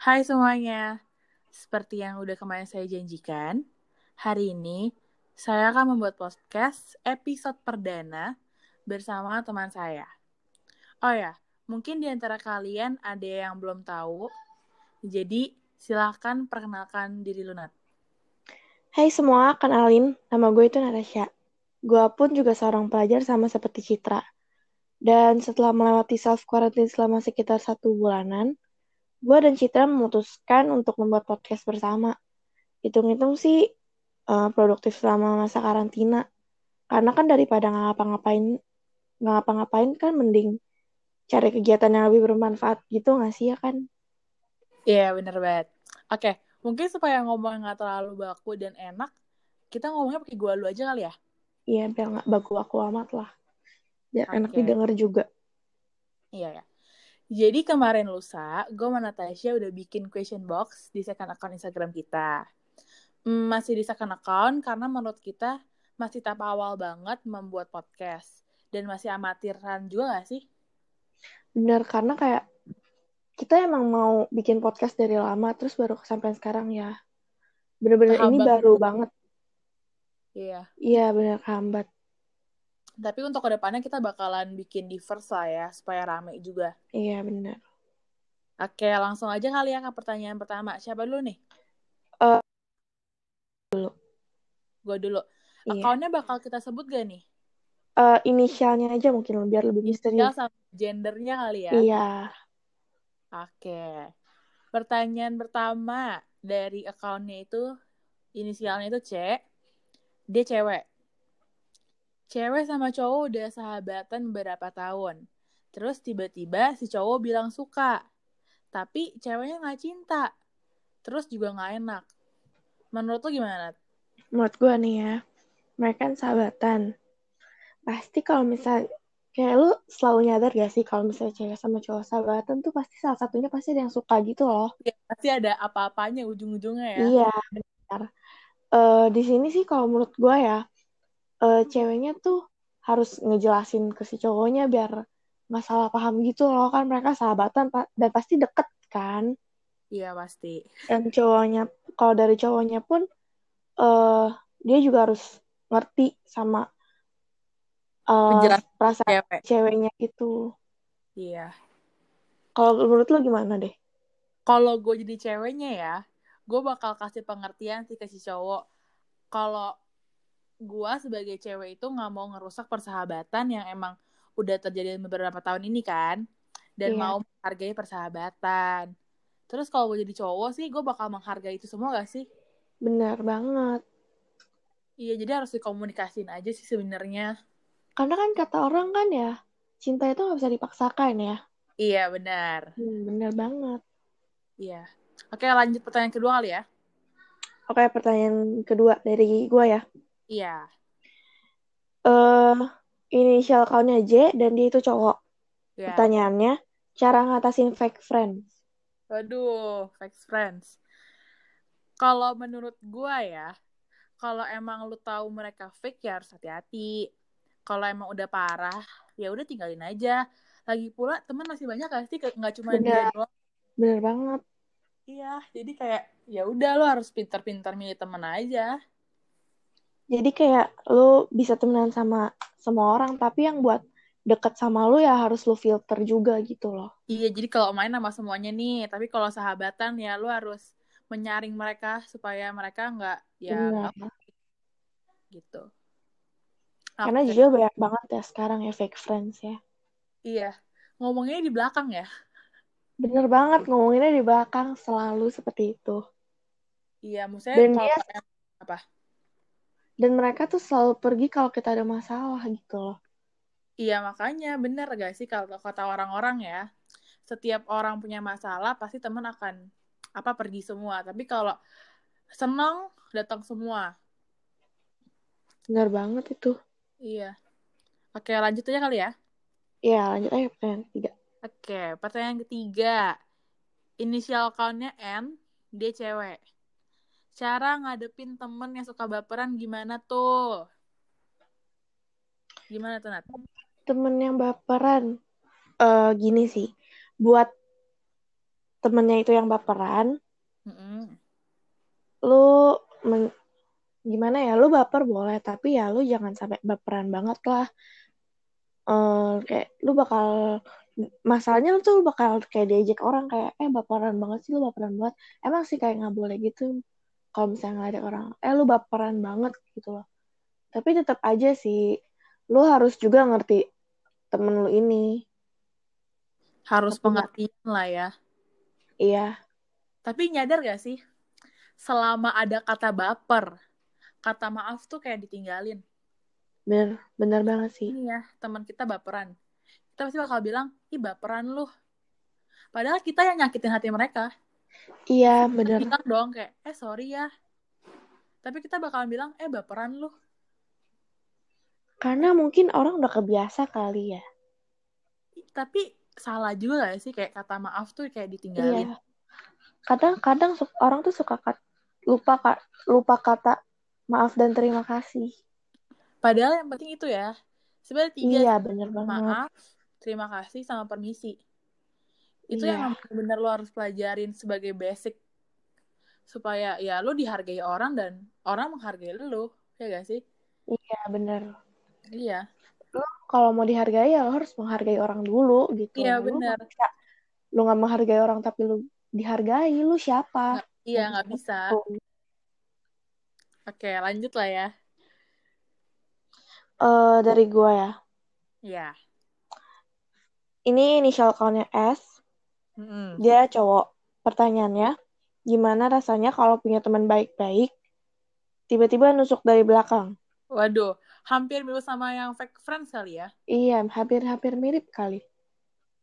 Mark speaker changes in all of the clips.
Speaker 1: Hai semuanya, seperti yang udah kemarin saya janjikan, hari ini saya akan membuat podcast episode perdana bersama teman saya. Oh ya, mungkin di antara kalian ada yang belum tahu, jadi silahkan perkenalkan diri lu, Nat.
Speaker 2: Hai semua, kenalin, nama gue itu Natasha. Gue pun juga seorang pelajar sama seperti Citra. Dan setelah melewati self-quarantine selama sekitar satu bulanan, gue dan Citra memutuskan untuk membuat podcast bersama. Hitung-hitung sih eh, produktif selama masa karantina. Karena kan daripada nggak ngapa-ngapain, nggak ngapa-ngapain kan mending cari kegiatan yang lebih bermanfaat gitu nggak sih ya kan?
Speaker 1: Iya, bener banget. Oke, mungkin supaya ngomong nggak terlalu baku dan enak, kita ngomongnya pakai gua lu aja kali ya.
Speaker 2: Iya, biar nggak baku aku amat lah. Biar enak
Speaker 1: Oke.
Speaker 2: didengar juga.
Speaker 1: Iya ya. Jadi kemarin lusa, gue sama Natasha udah bikin question box di second account Instagram kita. Mm, Masih di second account karena menurut kita masih tahap awal banget membuat podcast. Dan masih amatiran juga gak sih?
Speaker 2: Bener, karena kayak kita emang mau bikin podcast dari lama, terus baru kesampaian sekarang ya. Bener-bener
Speaker 1: Paham
Speaker 2: ini
Speaker 1: banget.
Speaker 2: baru banget.
Speaker 1: Iya.
Speaker 2: Iya, bener hambat.
Speaker 1: Tapi untuk kedepannya kita bakalan bikin diverse lah ya, supaya rame juga.
Speaker 2: Iya, bener.
Speaker 1: Oke, langsung aja kali ya ke pertanyaan pertama. Siapa dulu nih?
Speaker 2: Eh,
Speaker 1: Gue dulu.
Speaker 2: Iya.
Speaker 1: Accountnya bakal kita sebut gak nih?
Speaker 2: Eh, inisialnya aja mungkin biar lebih
Speaker 1: Inisial
Speaker 2: misterius.
Speaker 1: sama gendernya kali ya?
Speaker 2: Iya.
Speaker 1: Oke. Pertanyaan pertama dari akunnya itu inisialnya itu C. Dia cewek. Cewek sama cowok udah sahabatan berapa tahun. Terus tiba-tiba si cowok bilang suka. Tapi ceweknya nggak cinta. Terus juga nggak enak. Menurut lo gimana? Nat?
Speaker 2: Menurut gue nih ya, mereka kan sahabatan. Pasti kalau misalnya, kayak lu selalu nyadar gak sih kalau misalnya cewek sama cowok sahabatan tuh pasti salah satunya pasti ada yang suka gitu loh.
Speaker 1: Ya, pasti ada apa-apanya ujung-ujungnya ya.
Speaker 2: Iya, benar. Eh, di sini sih kalau menurut gue ya, eh, ceweknya tuh harus ngejelasin ke si cowoknya biar nggak salah paham gitu loh kan mereka sahabatan pa- dan pasti deket kan
Speaker 1: Iya pasti.
Speaker 2: dan cowoknya kalau dari cowoknya pun eh dia juga harus ngerti sama eh,
Speaker 1: Penjelasan
Speaker 2: perasaan
Speaker 1: cewek.
Speaker 2: ceweknya gitu
Speaker 1: Iya.
Speaker 2: kalau menurut lo gimana deh
Speaker 1: Kalau gue jadi ceweknya ya, gue bakal kasih pengertian sih ke si cowok. Kalau gua sebagai cewek itu nggak mau ngerusak persahabatan yang emang udah terjadi beberapa tahun ini kan dan
Speaker 2: Iya.
Speaker 1: mau menghargai persahabatan terus kalau gue jadi cowok sih gue bakal menghargai itu semua gak sih
Speaker 2: benar banget
Speaker 1: iya jadi harus dikomunikasin aja sih sebenarnya
Speaker 2: karena kan kata orang kan ya cinta itu nggak bisa dipaksakan ya
Speaker 1: iya benar
Speaker 2: hmm, benar banget
Speaker 1: iya oke lanjut pertanyaan kedua kali ya
Speaker 2: oke pertanyaan kedua dari gue ya
Speaker 1: iya
Speaker 2: eh inisial accountnya J dan dia itu cowok.
Speaker 1: iya
Speaker 2: Pertanyaannya, cara ngatasin fake friends.
Speaker 1: waduh fake friends kalau menurut gua ya kalau emang lu tahu mereka fake ya harus hati-hati. Kalau emang udah parah, ya udah tinggalin aja. Lagi pula teman masih banyak gak sih Ke- nggak cuma dia
Speaker 2: Bener,
Speaker 1: doang.
Speaker 2: bener banget.
Speaker 1: Iya, jadi kayak ya udah lo harus pintar-pintar milih teman aja.
Speaker 2: Jadi kayak lu bisa temenan sama semua orang, tapi yang buat deket sama lu ya harus lu filter juga gitu loh.
Speaker 1: Iya, jadi kalau main sama semuanya nih, tapi kalau sahabatan ya lo harus menyaring mereka supaya mereka nggak ya
Speaker 2: Bener.
Speaker 1: nggak gitu.
Speaker 2: Karena
Speaker 1: Oke,
Speaker 2: jujur banyak banget ya sekarang ya fake friends ya.
Speaker 1: iya. Ngomongnya di belakang ya.
Speaker 2: Bener banget ngomonginnya di belakang selalu seperti itu.
Speaker 1: Iya, maksudnya
Speaker 2: Dan
Speaker 1: kalau
Speaker 2: dia
Speaker 1: em- apa?
Speaker 2: dan mereka tuh selalu pergi kalau kita ada masalah gitu loh.
Speaker 1: Iya, makanya bener gak sih kalau kata orang-orang ya. setiap orang punya masalah pasti teman akan apa pergi semua tapi kalau senang datang semua
Speaker 2: Bener banget itu.
Speaker 1: iya oke lanjut aja kali ya
Speaker 2: Ya lanjut aja ke pertanyaan ketiga.
Speaker 1: oke pertanyaan ketiga inisial accountnya N dia cewek cara ngadepin temen yang suka baperan gimana tuh gimana tuh Nat
Speaker 2: Temen yang baperan. eh gini sih buat temennya itu yang baperan,
Speaker 1: Mm-mm.
Speaker 2: lu men- gimana ya, lu baper boleh, tapi ya lu jangan sampai baperan banget lah. Eh, kayak lu bakal masalahnya lu tuh bakal kayak diejek orang kayak eh baperan banget sih lu baperan banget emang sih kayak nggak boleh gitu kalau misalnya nggak ada orang eh lu baperan banget gitu loh tapi tetap aja sih lu harus juga ngerti temen lu ini
Speaker 1: Harus
Speaker 2: Tapi nggak-
Speaker 1: pengertian lah ya.
Speaker 2: iya
Speaker 1: Tapi nyadar gak sih? Selama ada kata baper, kata maaf tuh kayak ditinggalin.
Speaker 2: bener bener banget sih
Speaker 1: Ini ya, teman kita baperan. Kita pasti bakal bilang, ih baperan lu. Padahal kita yang nyakitin hati mereka.
Speaker 2: iya
Speaker 1: Kita
Speaker 2: bener
Speaker 1: bilang dong kayak, eh sorry ya. Tapi kita bakalan bilang, eh baperan lu.
Speaker 2: karena mungkin orang udah kebiasa kali ya
Speaker 1: Ih, Tapi salah juga gak sih kayak kata maaf tuh kayak ditinggalin.
Speaker 2: iya kadang-kadang su- orang tuh suka kat- lupa ka- lupa kata maaf dan terima kasih
Speaker 1: Padahal yang penting itu ya. Sebenarnya tiga
Speaker 2: iya
Speaker 1: sih.
Speaker 2: bener banget
Speaker 1: maaf, terima kasih, sama permisi. Itu
Speaker 2: iya
Speaker 1: yang benar-benar lo harus pelajarin sebagai basic supaya ya lo dihargai orang dan orang menghargai lo, ya gak sih?
Speaker 2: iya bener
Speaker 1: Iya,
Speaker 2: kalau mau dihargai ya lo harus menghargai orang dulu gitu
Speaker 1: iya
Speaker 2: lu
Speaker 1: benar.
Speaker 2: nggak bisa lu nggak menghargai orang tapi lu dihargai lu siapa
Speaker 1: Nggak- Iya
Speaker 2: nggak
Speaker 1: nggak
Speaker 2: bisa
Speaker 1: bisa.
Speaker 2: gitu.
Speaker 1: Oke, lanjut lah ya.
Speaker 2: Eh, dari gua ya
Speaker 1: Iya.
Speaker 2: ini inisial call-nya S
Speaker 1: Mm-mm.
Speaker 2: dia cowok pertanyaannya gimana rasanya kalau punya teman baik-baik tiba-tiba nusuk dari belakang
Speaker 1: Waduh, hampir mirip sama yang fake friends kali ya.
Speaker 2: iya hampir-hampir mirip kali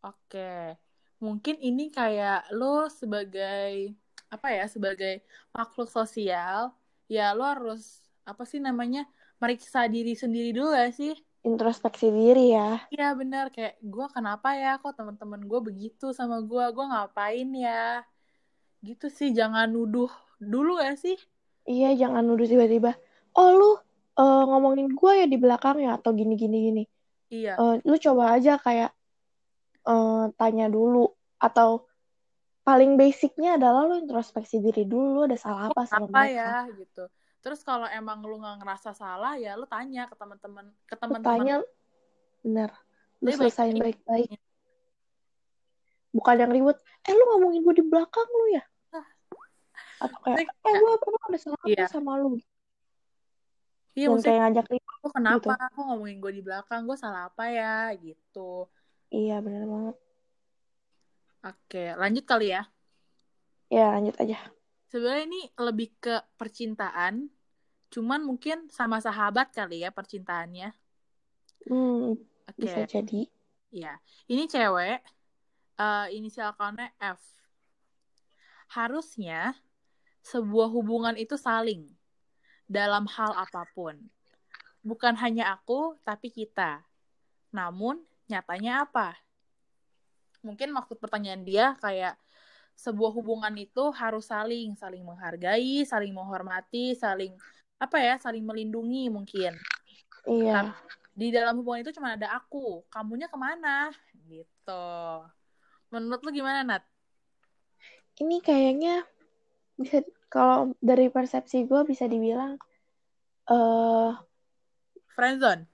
Speaker 1: Oke, mungkin ini kayak lo sebagai apa ya sebagai makhluk sosial, ya lo harus apa sih namanya meriksa diri sendiri dulu ya sih.
Speaker 2: introspeksi diri ya
Speaker 1: Iya bener, kayak gue kenapa ya kok teman-teman gue begitu sama gue, gue ngapain ya? Gitu sih, jangan nuduh dulu ya sih.
Speaker 2: iya jangan nuduh tiba-tiba oh lu eh, ngomongin gua ya di belakang ya atau gini-gini gini, gini, gini.
Speaker 1: Iya,
Speaker 2: Eh, lu coba aja kayak eh, tanya dulu atau paling basicnya adalah lu introspeksi diri dulu lu ada salah
Speaker 1: kok
Speaker 2: apa sama
Speaker 1: apa ya
Speaker 2: mereka
Speaker 1: gitu. Terus kalau emang lu nggak ngerasa salah ya lu tanya ke teman-teman ke
Speaker 2: lu
Speaker 1: teman-teman.
Speaker 2: tanya bener lu
Speaker 1: Tapi baik
Speaker 2: selesain baik-baik bukan yang ribut eh lu ngomongin gue di belakang lu ya atau kayak
Speaker 1: Maksudnya
Speaker 2: eh
Speaker 1: kayak,
Speaker 2: gue emang ada salah apa
Speaker 1: Ah. iya,
Speaker 2: sama lu
Speaker 1: iya
Speaker 2: jangan
Speaker 1: maksudnya
Speaker 2: kayak ngajak ribut
Speaker 1: gue
Speaker 2: gitu
Speaker 1: kenapa? Kok ngomongin gue di belakang? Gue salah apa ya? Gitu.
Speaker 2: iya bener banget
Speaker 1: Oke, lanjut kali ya.
Speaker 2: ya lanjut aja
Speaker 1: Sebenarnya ini lebih ke percintaan. Cuman mungkin sama sahabat kali ya percintaannya.
Speaker 2: hmm bisa
Speaker 1: Oke,
Speaker 2: jadi
Speaker 1: ya. Ini cewek, eh, inisial konnya F. Harusnya sebuah hubungan itu saling dalam hal apapun. Bukan hanya aku, tapi kita. Namun, nyatanya apa? Mungkin maksud pertanyaan dia kayak sebuah hubungan itu harus saling, saling menghargai, saling menghormati, saling apa ya, saling melindungi mungkin.
Speaker 2: iya
Speaker 1: Tapi di dalam hubungan itu cuma ada aku, kamunya kemana? Gitu. Menurut lu gimana, Nat?
Speaker 2: ini kayaknya bisa kalau dari persepsi gue bisa dibilang eh
Speaker 1: Friendzone?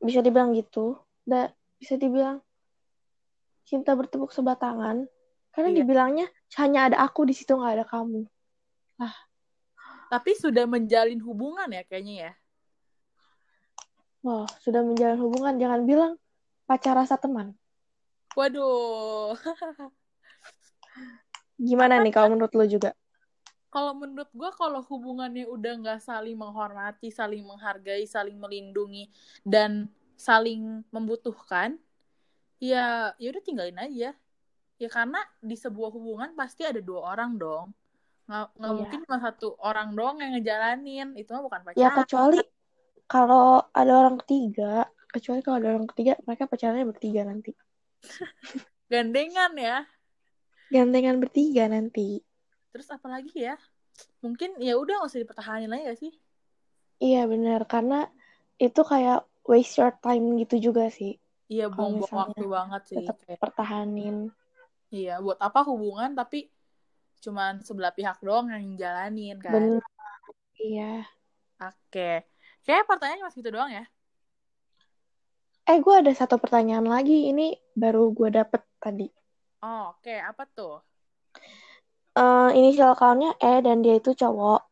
Speaker 2: bisa dibilang gitu da, bisa dibilang cinta bertepuk sebelah tangan karena
Speaker 1: Iya.
Speaker 2: dibilangnya hanya ada aku di situ nggak ada kamu lah
Speaker 1: Tapi sudah menjalin hubungan ya kayaknya ya.
Speaker 2: wow sudah menjalin hubungan jangan bilang pacar rasa teman
Speaker 1: Waduh.
Speaker 2: gimana nih kalau menurut lo juga
Speaker 1: Kalau menurut gue, kalau hubungannya udah nggak saling menghormati, saling menghargai, saling melindungi, dan saling membutuhkan, ya ya udah tinggalin aja. Ya karena di sebuah hubungan pasti ada dua orang dong. Nggak, nggak
Speaker 2: iya
Speaker 1: mungkin cuma satu orang doang yang ngejalanin. Itu mah bukan pacaran.
Speaker 2: ya kecuali kalau ada orang ketiga kecuali kalau ada orang ketiga mereka pacarnya bertiga nanti
Speaker 1: Gandengan ya.
Speaker 2: gantengan bertiga nanti
Speaker 1: Terus apa lagi ya? Mungkin ya udah nggak usah dipertahanin lagi gak sih?
Speaker 2: iya benar karena itu kayak waste your time gitu juga sih
Speaker 1: Iya buang-buang
Speaker 2: kalau misalnya ya.
Speaker 1: waktu banget sih.
Speaker 2: tetap
Speaker 1: Kayak
Speaker 2: pertahanin
Speaker 1: Iya, buat apa hubungan tapi cuman sebelah pihak doang yang jalanin kan.
Speaker 2: Benar. Iya.
Speaker 1: Oke. Kayaknya pertanyaannya cuma segitu doang ya.
Speaker 2: Eh, gue ada satu pertanyaan lagi. Ini baru gue dapet tadi.
Speaker 1: Oh, oke, apa tuh?
Speaker 2: Eh, inisial kawannya E dan dia itu cowok.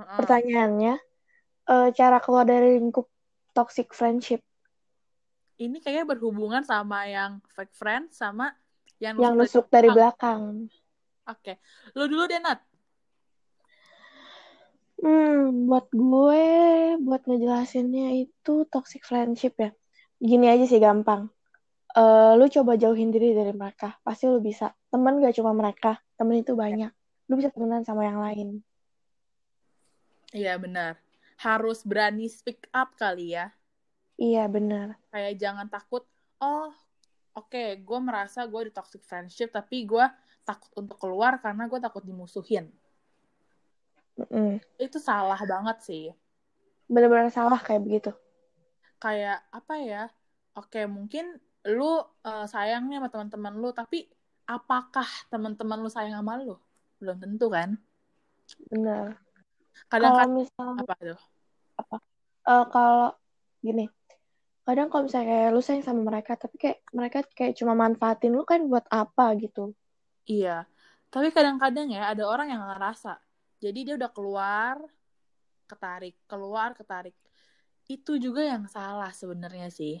Speaker 1: Heeh.
Speaker 2: Pertanyaannya, eh, cara keluar dari lingkup toxic friendship
Speaker 1: Ini kayaknya berhubungan sama yang fake friend sama yang,
Speaker 2: yang
Speaker 1: nusuk-
Speaker 2: nusuk Hmm, dari belakang.
Speaker 1: Oke. Lu dulu deh, Nat.
Speaker 2: Hmm, buat gue, buat ngejelasinnya itu toxic friendship ya. Gini aja sih gampang. Eh, lu coba jauhin diri dari mereka, pasti lu bisa. Temen gak cuma mereka, temen itu banyak. Lu bisa temenan sama yang lain.
Speaker 1: Iya, benar. Harus berani speak up kali ya.
Speaker 2: Iya, benar.
Speaker 1: Kayak jangan takut, oh, oke, gue merasa gue di toxic friendship, tapi gue takut untuk keluar karena gue takut dimusuhin.
Speaker 2: Mm-mm.
Speaker 1: Itu salah banget sih.
Speaker 2: Bener-bener salah kayak begitu.
Speaker 1: Kayak, apa ya, oke, mungkin lu eh, sayangnya sama teman-teman lu, tapi apakah teman-teman lu sayang sama lu? Belum tentu kan?
Speaker 2: Bener. Kalau
Speaker 1: Kadang-kadang,
Speaker 2: misalnya,
Speaker 1: apa tuh?
Speaker 2: eh, kalau gini, kadang kalau misalnya kayak lu sayang sama mereka, tapi kayak mereka kayak cuma manfaatin lu kan buat apa gitu.
Speaker 1: Iya, tapi kadang-kadang ya ada orang yang nggak ngerasa. Jadi dia udah keluar, ketarik, keluar, ketarik. Itu juga yang salah sebenarnya sih.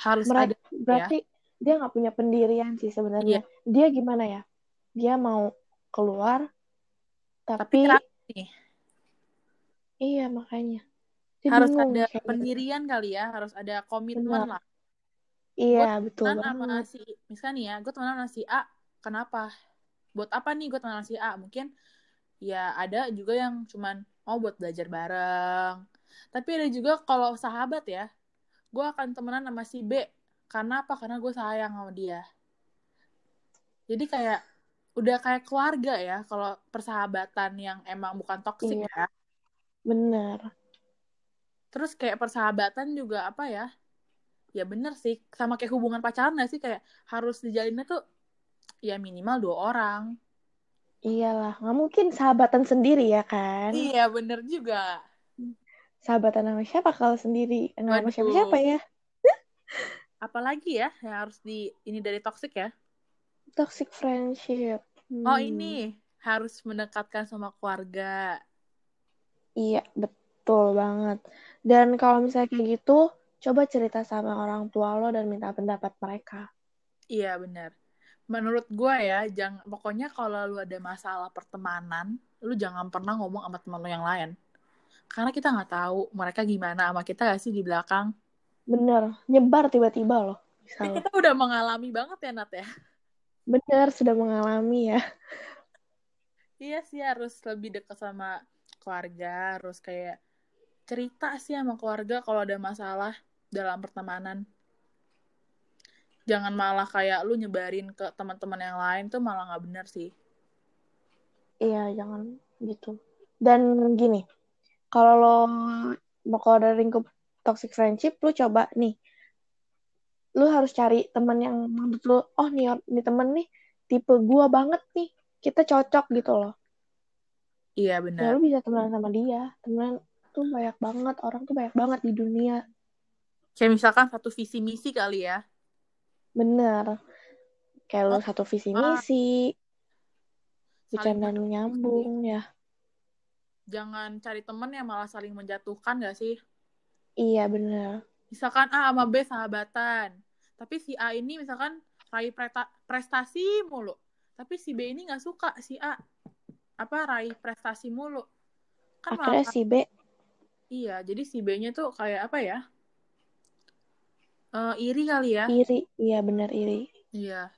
Speaker 1: Harus ada
Speaker 2: Mereka,
Speaker 1: ya. Iya.
Speaker 2: berarti dia nggak punya pendirian sih sebenarnya. Dia gimana ya? Dia mau keluar,
Speaker 1: tapi
Speaker 2: tapi,
Speaker 1: ra-
Speaker 2: iya makanya. Dia
Speaker 1: harus
Speaker 2: bingung
Speaker 1: ada
Speaker 2: kayak gitu.
Speaker 1: pendirian kali ya, harus ada komitmen
Speaker 2: Benar.
Speaker 1: lah.
Speaker 2: Iya,
Speaker 1: Gua
Speaker 2: betul
Speaker 1: Temenan sama
Speaker 2: banget.
Speaker 1: si, misalnya nih ya, gue temenan sama si A, kenapa? Buat apa nih gue temenan sama si A? Mungkin ya ada juga yang cuman oh buat belajar bareng. Tapi ada juga kalau sahabat ya, gue akan temenan sama si B karena apa karena gue sayang sama dia jadi kayak udah kayak keluarga ya kalau persahabatan yang emang bukan toksik
Speaker 2: Iya,
Speaker 1: ya
Speaker 2: benar.
Speaker 1: terus kayak persahabatan juga apa ya ya bener sih sama kayak hubungan pacaran gak sih kayak harus dijalinnya tuh ya minimal dua orang
Speaker 2: Iyalah, nggak mungkin sahabatan sendiri ya kan?
Speaker 1: iya bener juga
Speaker 2: Sahabatan sama siapa kalau sendiri? Nggak sama siapa-siapa
Speaker 1: waduh
Speaker 2: ya.
Speaker 1: apalagi ya yang harus di ini dari toksik ya
Speaker 2: Toxic friendship.
Speaker 1: oh
Speaker 2: Hmm.
Speaker 1: ini harus mendekatkan sama keluarga
Speaker 2: Iya, betul banget. Dan kalau misalnya kayak gitu, coba cerita sama orang tua lo dan minta pendapat mereka.
Speaker 1: iya bener menurut gue ya jangan pokoknya kalau lu ada masalah pertemanan lu jangan pernah ngomong sama teman lu yang lain karena kita nggak tahu mereka gimana sama kita gak sih di belakang
Speaker 2: Bener, nyebar tiba-tiba loh, bisa
Speaker 1: ini
Speaker 2: lo.
Speaker 1: kita udah mengalami banget ya Nat ya
Speaker 2: Bener, sudah mengalami ya.
Speaker 1: iya sih harus lebih dekat sama keluarga harus kayak cerita sih sama keluarga kalau ada masalah dalam pertemanan jangan malah kayak lu nyebarin ke teman-teman yang lain tuh malah nggak bener sih
Speaker 2: Iya, jangan gitu. Dan gini, kalau lo mau keluar dari lingkup toxic friendship, lo coba nih, lo harus cari teman yang menurut lo, oh nih, or- nih temen nih, tipe gua banget nih, kita cocok gitu loh.
Speaker 1: iya
Speaker 2: Nah,
Speaker 1: benar
Speaker 2: lo bisa temenan sama dia, temenan tuh banyak banget, orang tuh banyak banget di dunia.
Speaker 1: kayak misalkan satu visi misi kali ya
Speaker 2: Bener, kayak
Speaker 1: oh
Speaker 2: lo satu visi
Speaker 1: ah,
Speaker 2: misi,
Speaker 1: saling
Speaker 2: bercandaan lo
Speaker 1: mendukung
Speaker 2: nyambung ya.
Speaker 1: jangan cari temen yang malah saling menjatuhkan gak sih?
Speaker 2: Iya, bener.
Speaker 1: Misalkan A sama B sahabatan, tapi si A ini misalkan raih preta- prestasi mulu, tapi si B ini nggak suka si A apa raih prestasi mulu, kan
Speaker 2: Akhirnya
Speaker 1: malah
Speaker 2: si B,
Speaker 1: iya. Jadi si B-nya tuh kayak apa ya? Eh, iri kali ya?
Speaker 2: iri, iya bener iri.
Speaker 1: Iya,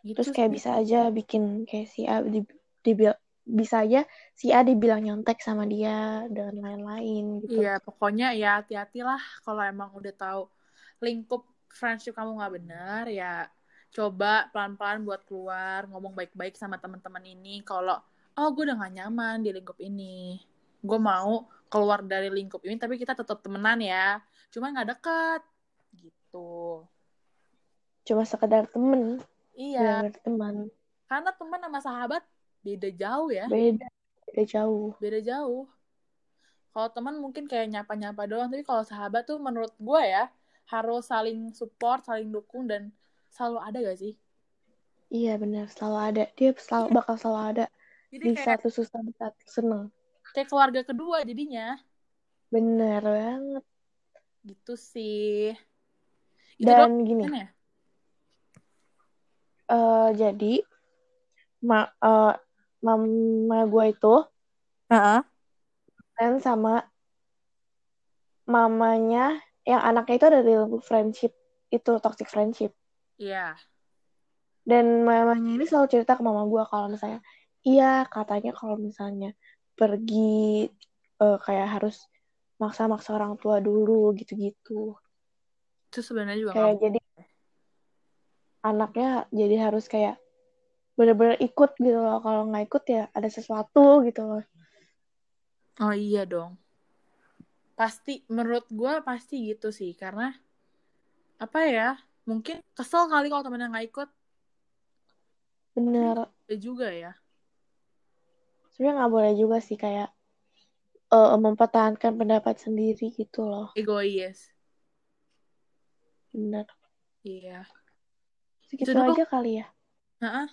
Speaker 1: gitu
Speaker 2: Terus kayak
Speaker 1: sih.
Speaker 2: bisa aja bikin kayak si A di, dibil- bisa aja si A dibilang nyontek sama dia dan lain-lain gitu.
Speaker 1: Iya, pokoknya ya hati-hatilah kalau emang udah tahu lingkup friendship kamu nggak bener ya coba pelan-pelan buat keluar ngomong baik-baik sama teman-teman ini kalau oh gue udah gak nyaman di lingkup ini gue mau keluar dari lingkup ini tapi kita tetap temenan ya cuman nggak dekat gitu
Speaker 2: Cuma sekedar temen.
Speaker 1: Iya,
Speaker 2: Bener-bener teman.
Speaker 1: karena teman sama sahabat beda jauh ya,
Speaker 2: Beda. Beda jauh.
Speaker 1: beda jauh. Kalau teman mungkin kayak nyapa-nyapa doang, tapi kalau sahabat tuh menurut gue ya harus saling support, saling dukung dan selalu ada gak sih?
Speaker 2: Iya bener. Selalu ada. Dia selalu, bakal selalu ada.
Speaker 1: Jadi
Speaker 2: Di
Speaker 1: kayak,
Speaker 2: saat lu susah, di saat lu seneng.
Speaker 1: kayak keluarga kedua jadinya.
Speaker 2: Bener banget.
Speaker 1: Gitu sih. Itu doang
Speaker 2: Dan gini.
Speaker 1: kan ya?
Speaker 2: eh, jadi. Ma, eh, mama gue itu.
Speaker 1: Heeh.
Speaker 2: Dan sama. Mamanya. Yang anaknya itu ada di lingkup friendship. Itu toxic friendship.
Speaker 1: Iya.
Speaker 2: dan mamanya ini selalu cerita ke mama gue kalau misalnya iya katanya kalau misalnya pergi eh, kayak harus maksa-maksa orang tua dulu gitu-gitu
Speaker 1: Itu sebenarnya juga nggak
Speaker 2: kayak jadi anaknya jadi harus kayak bener-bener ikut gitu loh kalau nggak ikut ya ada sesuatu gitu loh
Speaker 1: Oh iya dong. Pasti, menurut gue pasti gitu sih. Karena, apa ya, mungkin kesel kali kalau temennya nggak ikut.
Speaker 2: bener
Speaker 1: Ya juga ya.
Speaker 2: sebenarnya nggak boleh juga sih kayak eh, mempertahankan pendapat sendiri gitu loh
Speaker 1: Egois.
Speaker 2: bener
Speaker 1: Iya. Itu
Speaker 2: segitu
Speaker 1: dulu.
Speaker 2: aja kali ya
Speaker 1: Heeh.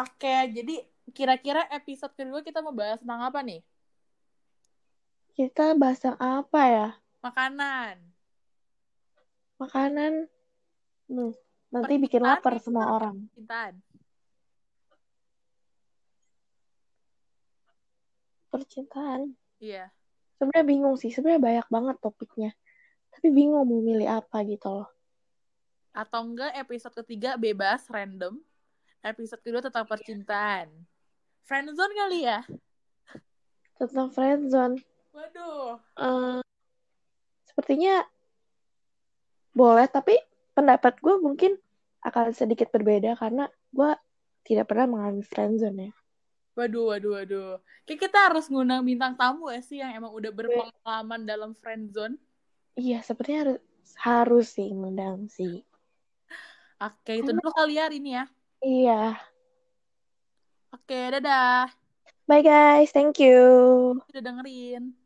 Speaker 1: Oke, jadi kira-kira episode kedua kita mau bahas tentang apa nih?
Speaker 2: kita bahas yang apa ya
Speaker 1: Makanan.
Speaker 2: makanan Hmm, nanti bikin
Speaker 1: Percintaan
Speaker 2: lapar
Speaker 1: nih,
Speaker 2: semua
Speaker 1: kita
Speaker 2: orang.
Speaker 1: Percintaan.
Speaker 2: Percintaan.
Speaker 1: Iya.
Speaker 2: Sebenarnya bingung sih, sebenarnya banyak banget topiknya. Tapi bingung mau milih apa gitu loh.
Speaker 1: Atau enggak episode ketiga bebas, random. Episode kedua tentang percintaan. Friendzone kali ya?
Speaker 2: Tentang friendzone.
Speaker 1: Waduh.
Speaker 2: eh sepertinya boleh, tapi pendapat gue mungkin akan sedikit berbeda karena gue tidak pernah mengalami friendzone ya.
Speaker 1: Waduh, waduh, waduh. Kayak kita harus ngundang bintang tamu ya sih yang emang udah berpengalaman dalam friendzone.
Speaker 2: Iya, sepertinya harus, harus sih ngundang sih.
Speaker 1: Oke, itu dulu kali ya hari ini ya.
Speaker 2: Iya.
Speaker 1: Oke, dadah.
Speaker 2: Bye guys, thank you.
Speaker 1: Udah dengerin.